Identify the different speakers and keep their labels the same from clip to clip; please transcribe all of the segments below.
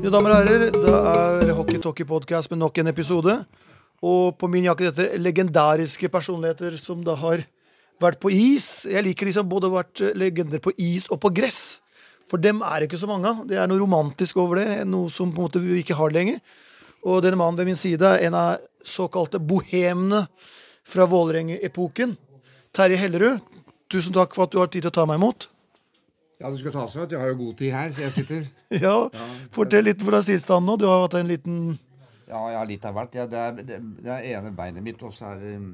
Speaker 1: Mine damer og herrer, det er Hockey Talkie Podcast med nok en episode. Og på min jakke dette legendariske personligheter som da har vært på is. Jeg liker de som både har vært eh, legender på is og på gress. For dem er det ikke så mange av. Det er noe romantisk over det, noe som på en måte vi ikke har lenger. Og denne mannen ved min side er en av såkalte bohemene fra Vålerenga-epoken. Terje Hellerud, tusen takk for at du har tid til å ta meg imot.
Speaker 2: Ja, du skal ta seg at jeg har jo god tid her, så jeg sitter
Speaker 1: Ja, Fortell litt hvordan tilstanden nå. Du har hatt en liten
Speaker 2: Ja, jeg har litt av hvert. Ja, det, er, det, det er ene beinet mitt, og så er det um,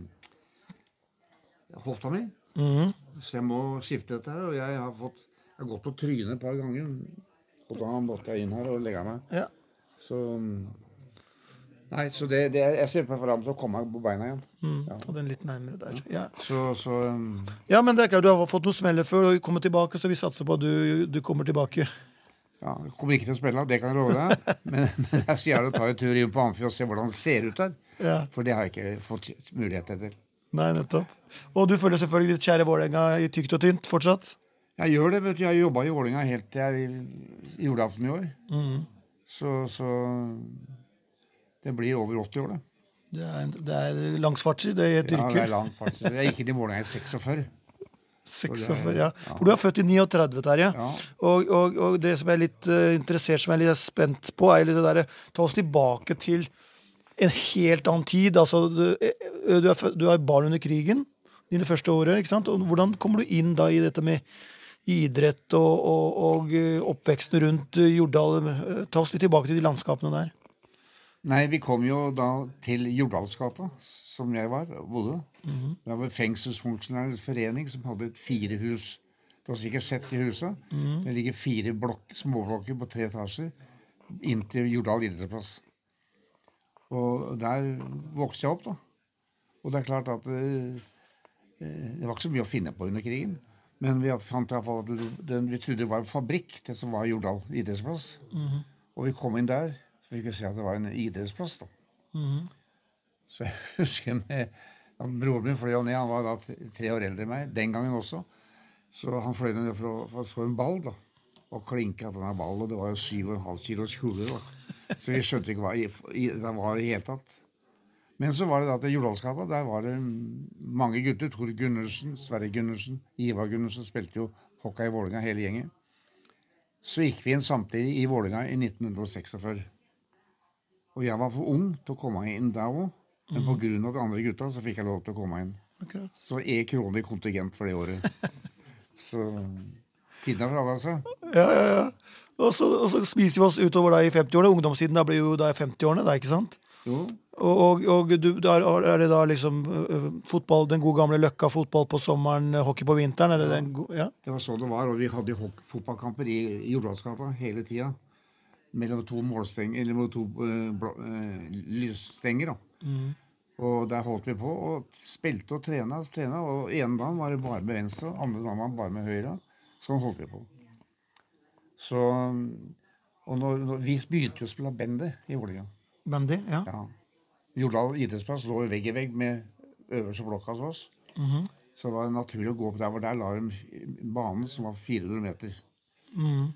Speaker 2: hofta mi. Så jeg må skifte dette her, og jeg har fått Jeg har gått på trynet et par ganger. Og da måtte jeg inn her og legge meg.
Speaker 1: ja.
Speaker 2: Så um, Nei, så det, det er, jeg ser meg fram til å komme meg på beina igjen. Ja. Mm.
Speaker 1: Ta den litt nærmere der. Ja.
Speaker 2: Så, så um,
Speaker 1: ja, men det er klart du har fått noen smeller før og kommer tilbake, så vi satser på at du, du kommer tilbake.
Speaker 2: ja, jeg kommer ikke til å spille, det kan jeg love deg. Men, men jeg sier det å ta en tur inn på Amfi og se hvordan det ser ut der.
Speaker 1: Ja.
Speaker 2: For det har jeg ikke fått mulighet til.
Speaker 1: Nei, nettopp. Og du følger selvfølgelig ditt kjære Vålerenga i tykt og tynt fortsatt?
Speaker 2: Jeg gjør det, vet du. Jeg jobba i Vålerenga helt til jeg julaften i år. Mm. Så, så det blir over 80 år, det.
Speaker 1: Det er, en- det er lang svartsid, det er et
Speaker 2: Ja, det er
Speaker 1: yrke.
Speaker 2: langt, faktisk. Jeg gikk inn i Vålerenga i 46.
Speaker 1: 46, ja. For du er født i 39, Terje.
Speaker 2: Ja.
Speaker 1: Og, og, og det som jeg er litt eh, interessert som jeg er litt spent på, er litt det derre Ta oss tilbake til en helt annen tid. Altså, du, eh, du, er, fø- du er barn under krigen, dine første året. ikke sant? Og hvordan kommer du inn da i dette med idrett og, og, og eh, oppveksten rundt eh, Jordal? Eh, Ta oss litt tilbake til de landskapene der.
Speaker 2: Nei, vi kom jo da til Jordalsgata, som jeg var, bodde. Det var fengselsfunksjonærens forening som hadde et firehus. Du har sikkert sett de husa. Det ligger fire blokk, småblokker på tre etasjer inntil Jordal idrettsplass. Og der vokste jeg opp, da. Og det er klart at eh, eh, det var ikke så mye å finne på under krigen. Men vi fant i hvert fall at du- den vi trodde var en fabrikk, det som var Jordal idrettsplass. Og vi kom inn der, så vi kunne se at det var en idrettsplass. da.
Speaker 1: Mhm,
Speaker 2: Så jeg husker med, at broren min fløy jo ned, han var da tre- tre år eldre enn meg, den gangen også. Så han fløy ned for å, for å slå en ball, da. Og klinka til den ballen, og det var jo 7,5 kilos kule, da. Så vi skjønte ikke hva i, i, det var i det hele tatt. Men så var det da til Jordalsgata. Der var det mm, mange gutter. Tor Gundersen, Sverre Gundersen, Ivar Gundersen spilte jo hockey i Vålerenga, hele gjengen. Så gikk vi inn samtidig i Vålerenga i 1946. Og jeg var for ung til å komme inn der òg. Men på grunn av de andre gutta så fikk jeg lov til å komme inn.
Speaker 1: Akkurat.
Speaker 2: Så var én krone i kontingent for det året. Så tiden altså. har forandra seg.
Speaker 1: Ja, ja, ja. Og så, og så spiser vi oss utover da i 50-årene. Ungdomstiden da blir jo da i 50-årene, da, ikke sant?
Speaker 2: Jo,
Speaker 1: Og, og, og du, da er- er det da liksom ø, ø, fotball, den gode gamle Løkka-fotball på sommeren, ø, hockey på vinteren? Er det den go ja?
Speaker 2: Det var sånn det var, og vi hadde jo hock- fotballkamper i i Jordalsgata hele tida. Mellom to målstenger, eller mellom to eh, bla- eh, lysstenger. da.
Speaker 1: Mm.
Speaker 2: Og der holdt vi på og spilte og trena. og trena, og ene dagen var det bare med venstre, andre dagen var det bare med høyre. Sånn holdt vi på. Så, og når, når, Vi begynte jo å spille bandy i Vålerenga.
Speaker 1: Bandy? Ja.
Speaker 2: Ja. Jordal idrettsplass lå jo vegg i vegg med øverste blokka hos oss.
Speaker 1: Mm-hmm.
Speaker 2: Så det var naturlig å gå opp der, hvor der la de banen som var 400 meter.
Speaker 1: Mm-hmm.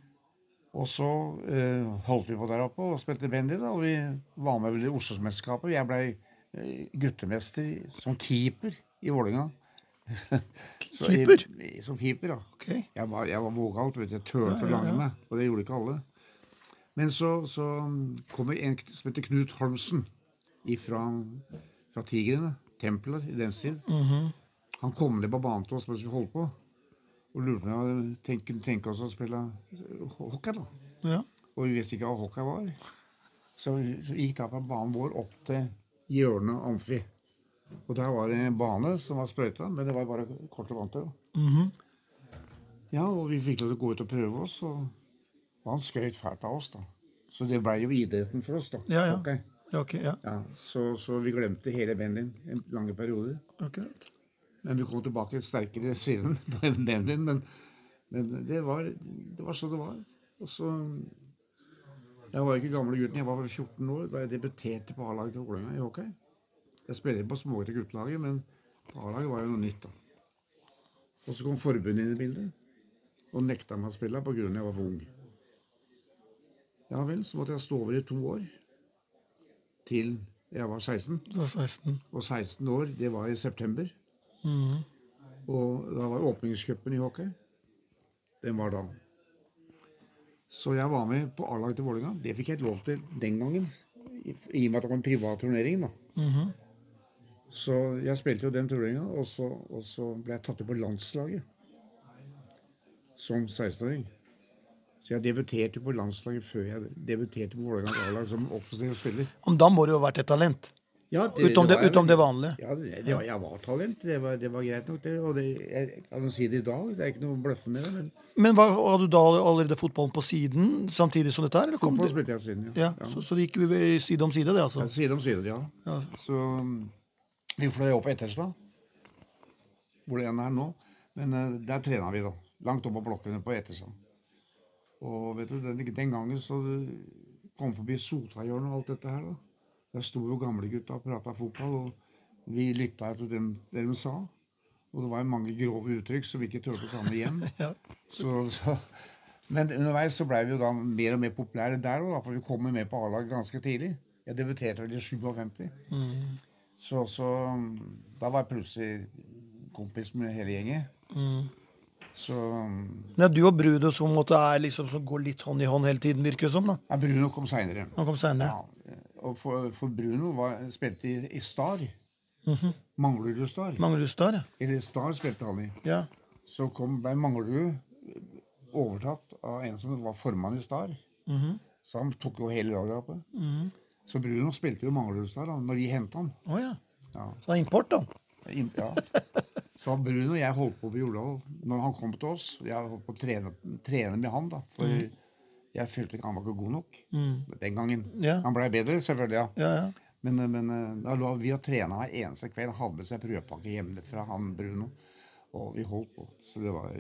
Speaker 2: Og så eh, holdt vi på der oppe og spilte bandy, da, og vi var med vel i Oslo-mesterskapet. Jeg blei eh, guttemester som keeper i Vålerenga. Så i-
Speaker 1: Keeper?
Speaker 2: i- Som keeper, ja.
Speaker 1: Ok.
Speaker 2: Jeg var, jeg var vågalt, vet du. Jeg turte å lange meg, og det gjorde ikke alle. Men så, så kommer en kn- som heter Knut Holmsen ifra, fra Tigrene, Templer i den tid.
Speaker 1: Mm-hmm.
Speaker 2: Han kom ned på banen til oss mens vi holdt på, og lurte på om jeg hadde- tenk- kunne tenke oss å spille eh, hockey. da.
Speaker 1: ja.
Speaker 2: Og vi visste ikke hva hockey var. Så vi så gikk da på banen vår opp til hjørnet av Amfi. Og der var det en bane som var sprøyta, men det var bare kort og vant til. da.
Speaker 1: Mm-hmm.
Speaker 2: Ja, og vi fikk lov til å gå ut og prøve oss, og og han skøyt fælt av oss, da. Så det ble jo idretten for oss, da.
Speaker 1: Ja, ja.
Speaker 2: Hockey.
Speaker 1: ja, ok, ja.
Speaker 2: ja så, så vi glemte hele bandyen en lang periode.
Speaker 1: Akkurat.
Speaker 2: Men vi kom tilbake sterkere siden på bandyen. Men, men det, var, det var sånn det var. Og så Jeg var ikke gamle gutten, jeg var vel 14 år da jeg debuterte på A-laget til Vålerenga i hockey. Jeg spilte på smågutter guttelaget, men på A-laget var jo noe nytt, da. Og så kom forbundet inn i bildet og nekta meg å spille pga. jeg var for ung. Ja vel, så måtte jeg stå over i to år. Til jeg var 16.
Speaker 1: Du var 16.
Speaker 2: Og 16 år, det var i september.
Speaker 1: Mhm.
Speaker 2: Og da var åpningscupen i hockey. Den var da. Så jeg var med på A-lag til Vålerenga. Det fikk jeg lov til den gangen. I i og med at det var en privat turnering, da.
Speaker 1: Mhm.
Speaker 2: Så jeg spilte jo den turneringa, og, så- og så ble jeg tatt ut på landslaget. Som 16-åring. Så jeg debuterte på landslaget før jeg debuterte på Vålerenga A-lag som offisiell spiller.
Speaker 1: Men da må det jo ha vært et talent.
Speaker 2: Ja,
Speaker 1: Utom det,
Speaker 2: var jeg
Speaker 1: utom
Speaker 2: vel.
Speaker 1: det vanlige.
Speaker 2: Ja, det, det var, jeg var talent. Det var, det var greit nok, det. Og det, jeg kan jo si det i dag. Det er ikke noe bløffende med det. Men
Speaker 1: Men var, hadde du da allerede fotballen på siden samtidig som dette her? Eller kom
Speaker 2: fotball
Speaker 1: det?
Speaker 2: spilte jeg siden, ja.
Speaker 1: Ja, så, så det gikk jo ved- side om side, det, altså.
Speaker 2: Side om side, ja.
Speaker 1: Ja.
Speaker 2: Så um, vi fløy opp Etterstad, hvor det ene er nå. Men eh, der trena vi, da. Langt opp på blokkene på Etterstad. Og vet du, den, den gangen så du kom forbi Sotahjørnet og alt dette her, da. Der sto jo gamlegutta og prata fotball, og vi lytta etter dem, det de sa. Og det var jo mange grove uttrykk som vi ikke turte å ta med hjem.
Speaker 1: Ja.
Speaker 2: Så, så. Men underveis så blei vi jo da mer og mer populære der òg, for vi kom jo med på A-laget ganske tidlig. Jeg debuterte vel i 57. Så, så mm, da var jeg plutselig kompis med hele gjengen. Så mm,
Speaker 1: Det er du og Brudo som, på en måte er liksom, som går litt hånd i hånd hele tiden, virker det som. da.
Speaker 2: ja, Bruno kom seinere.
Speaker 1: Han kom seinere.
Speaker 2: Ja, og for, for Bruno var, spilte i, i Star. Manglerud Star.
Speaker 1: Mangler du star, ja.
Speaker 2: Eller Star spilte han i.
Speaker 1: ja.
Speaker 2: Så kom, ble Manglerud overtatt av en som var formann i Star.
Speaker 1: Mhm.
Speaker 2: Så han tok jo hele laget oppe. Så Bruno spilte jo Manglerudstad da når de henta han.
Speaker 1: Å ja.
Speaker 2: Ja.
Speaker 1: Så det er import, da.
Speaker 2: Im- Ja. Så Bruno og jeg holdt på på Jordal når han kom til oss. Jeg holdt på å trene, trene med han, da. For
Speaker 1: Mm.
Speaker 2: jeg følte ikke han var ikke god nok den gangen.
Speaker 1: Ja.
Speaker 2: Han blei bedre, selvfølgelig, ja.
Speaker 1: Ja, ja.
Speaker 2: Men, men eh, da lå vi og trena hver eneste kveld. Han hadde med seg prøvepakke hjemme fra han Bruno. Og vi holdt på. Så det var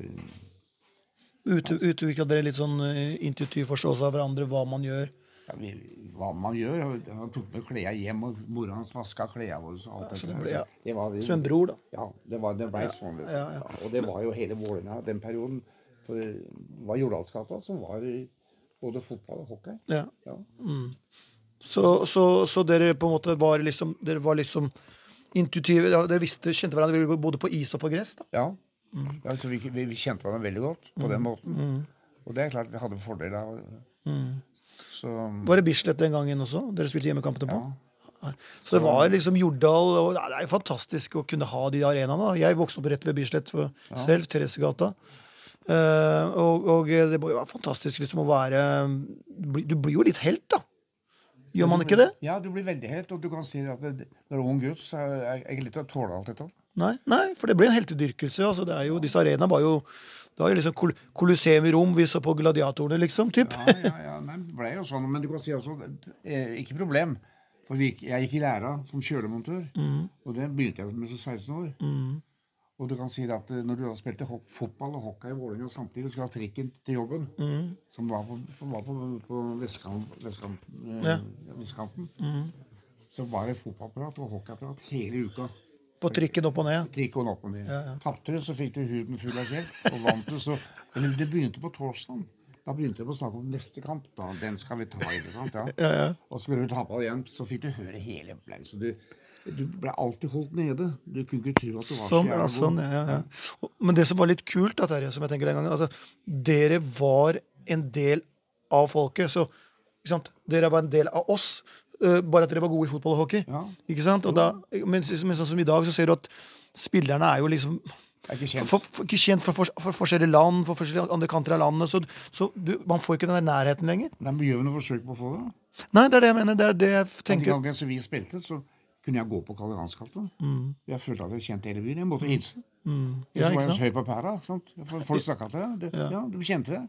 Speaker 1: Ut- Utvikla dere litt sånn eh, intuitiv forståelse av hverandre, hva man gjør?
Speaker 2: ja, vi, hva man gjør. Han tok med klærne hjem, og mora hans vaska klærne våre. og alt
Speaker 1: så
Speaker 2: dette
Speaker 1: det ble-
Speaker 2: her. Så
Speaker 1: ja.
Speaker 2: det var-
Speaker 1: Så en bror, da.
Speaker 2: Ja, det, var, det ble sånn. vet du.
Speaker 1: ja, ja.
Speaker 2: Og det var jo hele Vålerenga den perioden. For det var Jordalsgata som var i både fotball og hockey.
Speaker 1: Ja.
Speaker 2: Ja.
Speaker 1: Så, så, så dere på en måte var liksom, dere var liksom intuitive? Ja, dere visste, kjente hverandre dere både på is og på gress? da?
Speaker 2: ja.
Speaker 1: Mm.
Speaker 2: ja så vi, vi, vi kjente hverandre veldig godt på den måten. Og det er klart vi hadde fordel av. Så
Speaker 1: Mm. Var det Bislett den gangen også? Dere spilte hjemmekampene på? Så det var liksom Jordal og Nei, Det er jo fantastisk å kunne ha de arenaene. da. Jeg vokste opp rett ved Bislett for- selv, Theresegata. Eh, og, og det må jo være fantastisk liksom å være bli- Du blir jo litt helt, da. Gjør man ikke det?
Speaker 2: Ja, du blir veldig helt, og du kan si at det, når du er ung gutt, så er jeg ikke litt til å tåle alt dette.
Speaker 1: Nei, nei for det ble en heltedyrkelse. Altså, det er jo, disse arenaene var jo Det var jo liksom kol Colosseum i Rom, vi så på gladiatorene, liksom. Typ.
Speaker 2: Ja, ja, ja. Nei, det ble jo sånn. Men du kan si også eh, Ikke problem. For vi, gikk- jeg gikk i læra som kjølemontør. Og det begynte jeg med som 16 år. Og du kan si det at eh, når du da spilte ho- fotball og hockey i Vålerenga samtidig, og skulle ha trikken til jobben, som var på, som var på, på vestkant, vestkant, eh, vestkanten, så var det fotballprat og hockeyprat hele uka.
Speaker 1: På trikken opp og ned.
Speaker 2: Trikk og napp og ned. Tapte du, så fikk du huden full av kjeft. Og vant du, så Eller det begynte på torsdag. Da begynte de å snakke om neste kamp. da, Den skal vi ta, ikke sant? Ja. Og skulle du tape igjen, så fikk du høre hele opplegget. Så du, du ble alltid holdt nede. Du kunne ikke tro at du var
Speaker 1: Sånn,
Speaker 2: så
Speaker 1: ja,
Speaker 2: jævla
Speaker 1: sånn,
Speaker 2: god.
Speaker 1: ja, ja. Og- Men det som var litt kult, da, Terje, som jeg tenker den gangen, at dere var en del av folket. Så ikke sant? dere var en del av oss, eh, bare at dere var gode i fotball og hockey.
Speaker 2: Ja.
Speaker 1: Ikke sant? Og da, men, s- men sånn som i dag, så ser du at spillerne er jo liksom
Speaker 2: Jeg er ikke kjent.
Speaker 1: for, for, ikke kjent for, for, for forskjellige land, for forskjellige andre kanter av landet. Så, så du, man får ikke den der nærheten lenger.
Speaker 2: Nei, men gjør vi noe forsøk på å få det? da?
Speaker 1: Nei, det er det jeg mener. Det er det jeg f-
Speaker 2: Den
Speaker 1: tenker.
Speaker 2: gangen som vi spilte, så kunne jeg gå på Karl Johans-gata. Jeg følte at jeg kjente hele byen. Jeg måtte hilse.
Speaker 1: Mm. Ja,
Speaker 2: Jeg
Speaker 1: ikke
Speaker 2: var jeg
Speaker 1: sant?
Speaker 2: så høy på pæra. sant? For Folk snakka til deg. Det- Ja, de kjente det.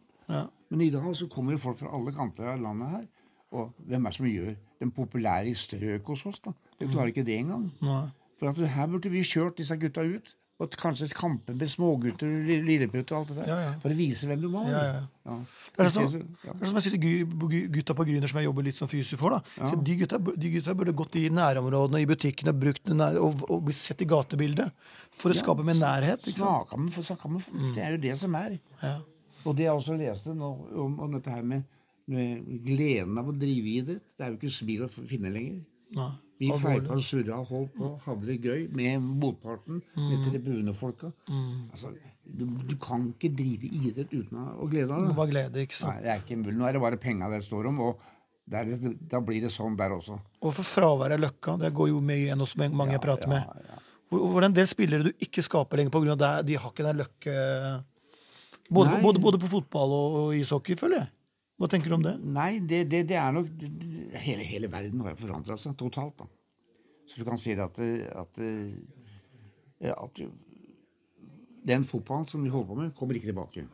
Speaker 2: Men i dag så kommer jo folk fra alle kanter av landet her. Og hvem er det som gjør den populære i strøk hos oss? da? De klarer ikke det engang.
Speaker 1: Nei.
Speaker 2: For at her burde vi kjørt disse gutta ut. Og kanskje kamper med smågutter li- lilleputter og alt det der.
Speaker 1: Ja, ja.
Speaker 2: For å vise hvem du var.
Speaker 1: Ja, ja, ja.
Speaker 2: Ja.
Speaker 1: Det er
Speaker 2: I
Speaker 1: sånn,
Speaker 2: stedet så- ja.
Speaker 1: det er som jeg sier til gu- gu- gutta på Gryner som jeg jobber litt som fysisk for. da. Så De, gutta, bu- de gutta burde gått i nærområdene, i butikkene, brukt den nær, og, og blitt sett i gatebildet. For å skape mer nærhet. Ikke sant?
Speaker 2: Snakka med,
Speaker 1: Mm.
Speaker 2: for snakka med folk. Det er jo det som er.
Speaker 1: Ja.
Speaker 2: Og det jeg også leste nå om, om dette her med med gleden av å drive idrett. Det er jo ikke smil å f- finne lenger.
Speaker 1: Nei.
Speaker 2: Vi
Speaker 1: Alvorlig.
Speaker 2: feipa, surra, holdt på, hadde det gøy med motparten, med tribunefolka. Altså, du, du kan ikke drive idrett uten å- å glede
Speaker 1: Det
Speaker 2: av det.
Speaker 1: var glede, ikke sant.
Speaker 2: Nei, det er ikke mulig. Nå er det bare penga det står om, og det er, da blir det sånn der også.
Speaker 1: Og for fraværet av Løkka, det går jo mye igjen hos meg- mange jeg prater
Speaker 2: ja,
Speaker 1: med. Hvor, hvor det er en del spillere du ikke skaper lenger pga. deg, de har ikke den løkke både,
Speaker 2: Nei.
Speaker 1: både, både på fotball og, og ishockey, føler jeg. Hva tenker du om det?
Speaker 2: Nei, det, det, det er nok det- det- Hele, hele verden har jo forandra seg totalt, da. Så du kan si det at, eh, at, eh, at jo- den fotballen som vi holder på med, kommer ikke tilbake.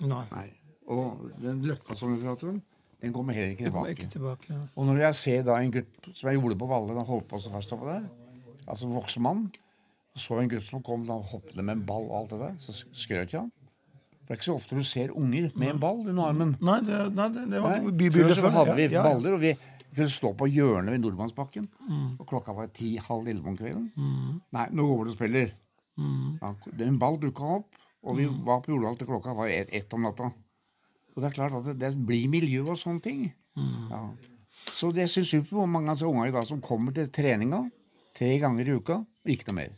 Speaker 1: Nei.
Speaker 2: Nei. Og den løkka som vi prater om, den kommer heller ikke
Speaker 1: Det kommer
Speaker 2: tilbake.
Speaker 1: ikke tilbake. Ja.
Speaker 2: Og når jeg ser da en gutt som jeg gjorde på Valle, han holdt på så fast oppå der, altså en voksen mann, så en gutt som kom da hoppende med en ball og alt det der, så sk- skrøt jeg han. For det er ikke så ofte du ser unger med en ball under armen.
Speaker 1: Nei, det, nei, det, det var
Speaker 2: Nei,
Speaker 1: bybildet
Speaker 2: Før så hadde vi
Speaker 1: Ja, ja, ja.
Speaker 2: baller, og vi kunne stå på hjørnet ved Nordmannsbakken.
Speaker 1: Mm.
Speaker 2: Og klokka var ti-halv elleve om kvelden. Nei, nå går du og spiller.
Speaker 1: Mm.
Speaker 2: Ja, en ball dukka opp, og vi var på Jordal til klokka var ett ett om natta. Og det er klart at det, det blir miljø og sånne ting. Ja. Så det syns vi på mange av disse ungene i dag som kommer til treninga tre ganger i uka, og ikke noe mer.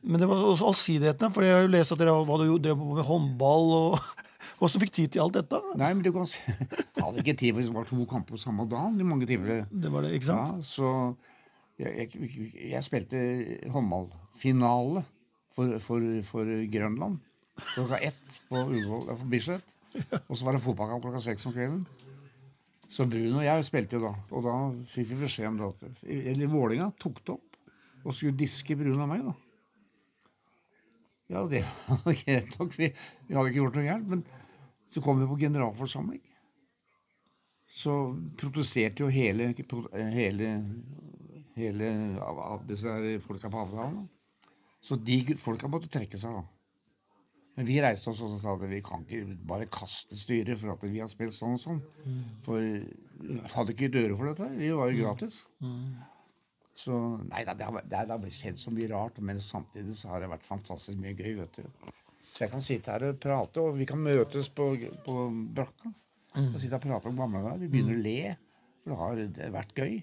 Speaker 1: Men det var også allsidigheten, for jeg har jo lest at dere har- hva du gjorde- drev på med håndball og Åssen fikk tid til alt dette?
Speaker 2: Nei, men du kan se Hadde ikke tid for det var to kamper på samme dagen i mange timer.
Speaker 1: Det var det, ikke sant?
Speaker 2: Ja, så jeg, jeg, jeg spilte håndballfinale for, for, for Grønland klokka ett på, Ullevål- på Bislett. Og så var det fotballkamp klokka seks om kvelden. Så Bruno og jeg spilte jo da. Og da fikk vi beskjed om det. at- Eller Vålinga tok det opp og skulle diske Bruno og meg, da. Ja, det var greit nok. Vi, vi hadde ikke gjort noe gærent. Men så kom vi på generalforsamling så protesterte jo hele, pro- hele, hele av, av disse her folka på avtalen. da. Så de gu- folka måtte trekke seg, da. Men vi reiste oss og så sa at vi kan ikke bare kaste styret for at vi har spilt sånn og sånn. For vi hadde ikke dører for dette. her. Vi var jo gratis. Så nei da, det har, vært- det har blitt skjedd så mye rart, men samtidig så har det vært fantastisk mye gøy, vet du. Så jeg kan sitte her og prate, og vi kan møtes på, på brakka. Og sitte og prate om gamle dager. Vi begynner å le, for det har det har vært gøy.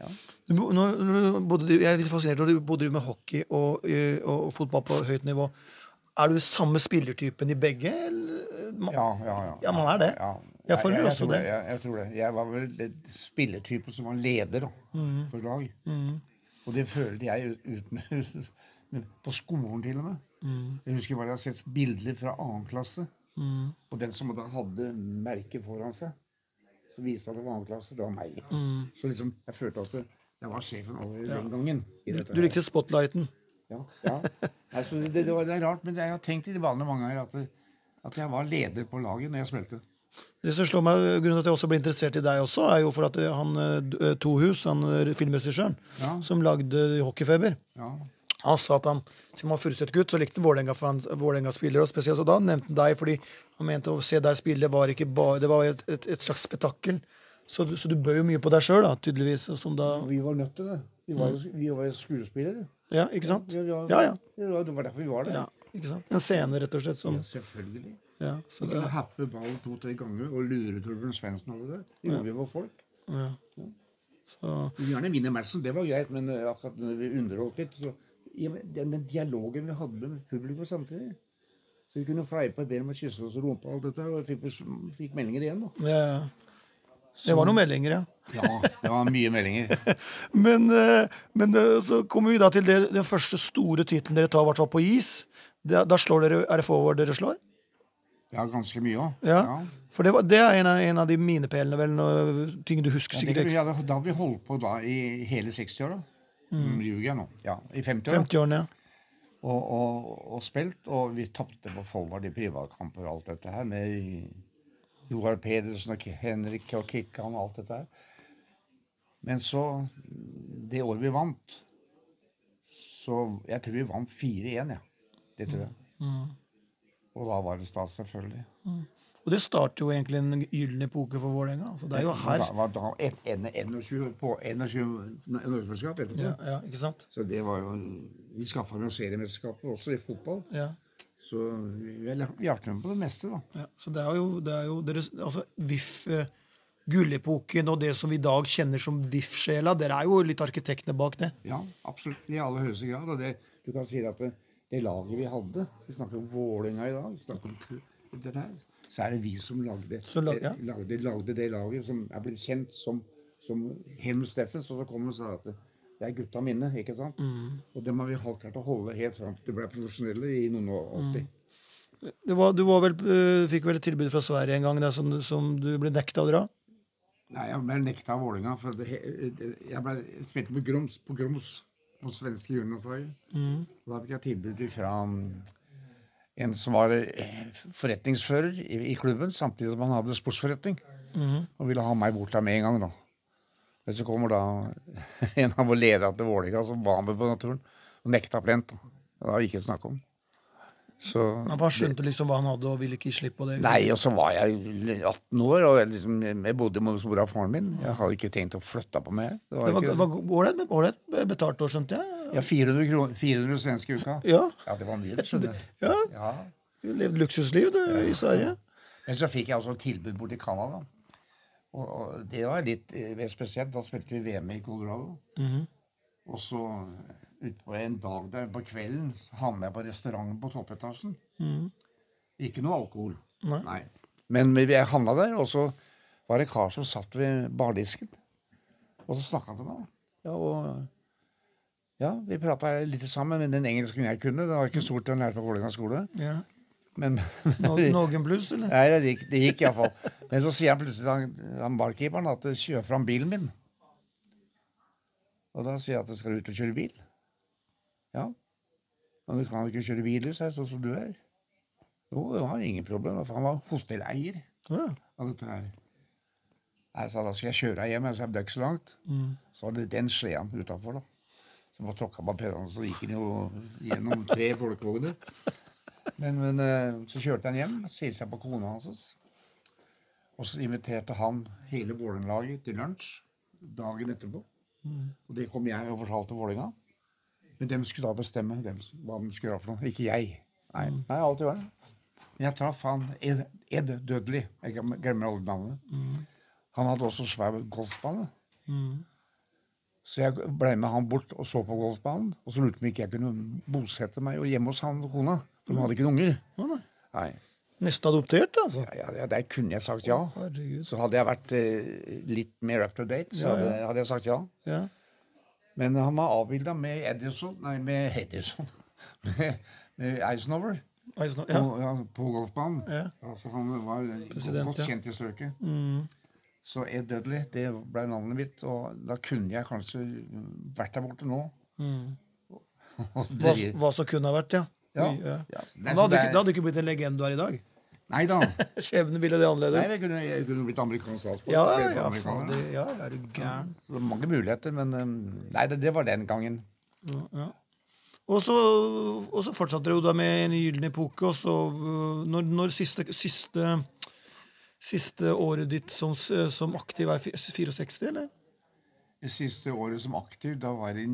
Speaker 2: Ja.
Speaker 1: Du bo- Når, når du bodde, jeg er litt fascinert når du bodde med hockey og, eh, og fotball på høyt nivå. Er du samme spillertypen i begge? Eller? Ma-
Speaker 2: Ja, ja, ja.
Speaker 1: Ja, man er det.
Speaker 2: Ja.
Speaker 1: Jeg føler
Speaker 2: jeg,
Speaker 1: også
Speaker 2: tror
Speaker 1: det.
Speaker 2: Jeg, jeg tror det. Jeg var vel den spillertypen som var leder da,
Speaker 1: Mm.
Speaker 2: for lag. Og det følte jeg ut, ut med, med, på skolen til og med.
Speaker 1: Mm.
Speaker 2: Jeg husker bare jeg har sett bilder fra annen klasse. Og den som da hadde merket foran seg, som viste at det var annen klasse, det var meg.
Speaker 1: Mm.
Speaker 2: Så liksom, jeg følte at jeg var sjefen allerede den gangen. i dette
Speaker 1: Du
Speaker 2: her.
Speaker 1: likte spotlighten.
Speaker 2: Ja, ja. Altså, det, det, var- det er rart, men jeg har tenkt i de banene mange ganger at, det- at jeg var leder på laget når jeg spilte.
Speaker 1: Det som slår meg, Grunnen til at jeg også ble interessert i deg også, er jo for at eh, han eh, D- eh, Tohus, han eh, filmregissøren,
Speaker 2: Ja.
Speaker 1: som lagde Hockeyfeber,
Speaker 2: Ja.
Speaker 1: han sa at han, siden han var Furuset-gutt, så likte han Vålerenga for han- Vålerenga-spillere. Og spesielt så da nevnte han deg, fordi han mente å se deg spille var ikke bare, det var et, et, et slags spetakkel. Så, du- så du bød jo mye på deg sjøl, tydeligvis. og Som da,
Speaker 2: Og Vi var nødt til det. Vi var jo, vi var jo skuespillere.
Speaker 1: ja, ikke sant?
Speaker 2: Vi var,
Speaker 1: Ja, ja.
Speaker 2: Det var- det var derfor vi var det.
Speaker 1: Ja, ikke sant? En scene, rett og slett. Som,
Speaker 2: Ja, selvfølgelig.
Speaker 1: ja, så
Speaker 2: Å
Speaker 1: det,
Speaker 2: happe ballen to-tre ganger og lure Torbjørn Svendsen over det, det gjorde vi for folk.
Speaker 1: ja. Så,
Speaker 2: Vi gjerne vinne matchen, det var greit, men eh, akkurat når vi underholdt litt så, ja, men den, den dialogen vi hadde med publikum samtidig Så vi kunne fleipe og be dem å kysse oss og rumpa og alt dette, og fikk, bes- fikk meldinger igjen, da.
Speaker 1: ja, ja. det var noen meldinger, ja.
Speaker 2: Ja, det var mye meldinger.
Speaker 1: Men, eh, men eh, så kommer vi da til det, den første store tittelen dere tar, i hvert fall på is. Da, da slår dere, Er det forward dere slår?
Speaker 2: Ja, ganske mye òg.
Speaker 1: Ja. For det, var, det er en av, en av de minepælene, vel, når, ting du husker sikkert
Speaker 2: Vi
Speaker 1: ekstra.
Speaker 2: hadde, da vi holdt på da i hele 60-åra. Mm. Ljuger jeg nå? Ja, I 50-åra.
Speaker 1: 50-årene, ja.
Speaker 2: Og, og, og spilt, og vi tapte på forward i privatkamper og alt dette her med Joar Pedersen og Ki- Henrik og Kikkan og alt dette her. Men så Det året vi vant Så Jeg tror vi vant 4-1, ja. Det tror jeg.
Speaker 1: Mm.
Speaker 2: Og da var det stas, selvfølgelig.
Speaker 1: Og det starter jo egentlig en gyllen epoke for Vålerenga. Så det er jo her.
Speaker 2: Da, var da en- en- 21 på 21 nei, norgesmesterskap etterpå.
Speaker 1: Ja, ja, ikke sant?
Speaker 2: Så det var jo Vi skaffa jo seriemesterskapet også i fotball.
Speaker 1: Ja.
Speaker 2: Så vi vi har vi har vært med på det meste, da.
Speaker 1: Ja, så det er jo, det er jo deres, altså VIF, eh, gullepoken og det som vi i dag kjenner som VIF-sjela, dere er jo litt arkitektene bak det.
Speaker 2: Ja, absolutt. I aller høyeste grad. Og det, du kan si at det, det laget vi hadde Vi snakker om Vålerenga i dag. vi snakker om Ku- den her, Så er det vi som lagde,
Speaker 1: Som lag- ja.
Speaker 2: eh, lagde, lagde det laget som er blitt kjent som, som Helm Steffens. Og så kom han og sa at det, det er gutta mine. ikke sant?
Speaker 1: Mm.
Speaker 2: Og dem har vi holdt her til å holde helt fram til de ble profesjonelle i noen og
Speaker 1: Mm.
Speaker 2: åtti.
Speaker 1: det var, du var vel, eh, fikk vel et tilbud fra Sverige en gang der, som, som du ble nekta å dra?
Speaker 2: Nei, jeg ble nekta av Vålerenga. for det, det- Jeg ble spilte med Groms på Groms på svenske juniorlaget. Da fikk jeg tilbud fra mm, en som var eh, forretningsfører i, i klubben, samtidig som han hadde sportsforretning. Og ville ha meg bort der med en gang, da. Men så kommer da en av våre ledere til Vålerenga som var med på naturen, og nekta plent. da. Det var ikke snakk om. Så
Speaker 1: Han skjønte liksom hva han hadde og ville ikke gi slipp på det.
Speaker 2: Nei, og så var jeg 18 år, og jeg, liksom, jeg bodde hos mora og faren min. Jeg hadde ikke tenkt å flytte på meg. Det var
Speaker 1: Det var
Speaker 2: ikke,
Speaker 1: det var ålreit men ålreit betalt år, skjønte jeg.
Speaker 2: ja, 400, kron, 400 svenske i uka.
Speaker 1: Ja,
Speaker 2: Ja, det var mye, det skjønner jeg.
Speaker 1: ja.
Speaker 2: Ja.
Speaker 1: Du levde luksusliv du, i Sverige.
Speaker 2: Men så fikk jeg altså et tilbud borti Canada. Og, og det var litt eh, mer spesielt. Da spilte vi VM i Colorado.
Speaker 1: Mhm.
Speaker 2: Og så utpå en dag der på kvelden så havna jeg på restauranten på toppetasjen. Ikke noe alkohol.
Speaker 1: Mhm. Nei.
Speaker 2: Men vi- jeg havna der, og så var det en kar som satt ved bardisken. Og så snakka han til meg. Ja, og ja, vi prata litt sammen, men den engelsken jeg kunne, det var ikke stort å lære på Vålerenga skole.
Speaker 1: Ja.
Speaker 2: Men,
Speaker 1: No- Nogenbluss, eller?
Speaker 2: Nei, det gikk, det gikk iallfall. Men så sier han plutselig til han- han barkeeperen at 'kjør fram bilen min'. Og da sier jeg at 'skal du ut og kjøre bil'? Ja. Men du kan jo ikke kjøre bil, sa jeg, sånn som du er. Jo, det var ingen problem, for han var hotelleier
Speaker 1: Ja.
Speaker 2: av dette her. Jeg sa da skal jeg kjøre deg hjem, jeg sa det er ikke så langt.
Speaker 1: Mm,
Speaker 2: Så var det den sleden utafor, da. Så bare tråkka man pedalen, så gikk den jo gjennom tre folkevogner. Men, men eh, så kjørte han hjem, så hilste jeg på kona hans. Og så inviterte han hele Vålerenga-laget til lunsj dagen etterpå. Og det kom jeg og fortalte Vålerenga. Men dem skulle da bestemme hvem, som- hva de skulle gjøre for noe. Ikke jeg. Nei, nei alt i verden. Men jeg traff han Ed, Ed Dudley. Jeg glem- glemmer alle navnet.
Speaker 1: mm,
Speaker 2: Han hadde også svær golfbane. Så jeg ble med han bort og så på golfbanen. Og så lurte han på om ikke jeg kunne bosette meg og hjemme hos han og kona. For de hadde ikke noen unger.
Speaker 1: Ja, nei.
Speaker 2: Nei,
Speaker 1: Nesten adoptert, altså.
Speaker 2: ja, ja, Der kunne jeg sagt ja.
Speaker 1: Herregud.
Speaker 2: Så hadde jeg vært eh, litt mer up to date, så
Speaker 1: Ja, ja.
Speaker 2: hadde, hadde jeg sagt ja.
Speaker 1: Ja.
Speaker 2: Men han var avbilda med Edison Nei, med Edison. med, med Eisenhower
Speaker 1: Eisen-
Speaker 2: ja.
Speaker 1: ja.
Speaker 2: På, ja, på golfbanen.
Speaker 1: Ja.
Speaker 2: Altså, han var
Speaker 1: President,
Speaker 2: godt
Speaker 1: ja.
Speaker 2: kjent i strøket.
Speaker 1: Mm.
Speaker 2: Så Ed Dudley, det ble navnet mitt. Og da kunne jeg kanskje vært der borte nå.
Speaker 1: Mm.
Speaker 2: Og
Speaker 1: Hva,
Speaker 2: drive-
Speaker 1: hva som kunne ha vært, ja.
Speaker 2: Ja.
Speaker 1: Oi, ja.
Speaker 2: Ja.
Speaker 1: Men Da hadde ikke, da hadde ikke blitt en legende du er i dag.
Speaker 2: Nei da.
Speaker 1: Skjebnen ville det
Speaker 2: Nei,
Speaker 1: annerledes.
Speaker 2: jeg kunne, jeg kunne blitt amerikansk statsborger.
Speaker 1: Ja,
Speaker 2: Jeg ble
Speaker 1: ja,
Speaker 2: amerikaner.
Speaker 1: fader. Ja, er du gæren.
Speaker 2: Så det var mange muligheter, men um, Nei, det, det var den gangen.
Speaker 1: Ja, ja. Og så, og så fortsatte dere jo da med en gyllen epoke, og så øh, når, når siste, siste Siste året ditt som, s- som aktiv er fi- 64, eller?
Speaker 2: Det siste året som aktiv, da var det i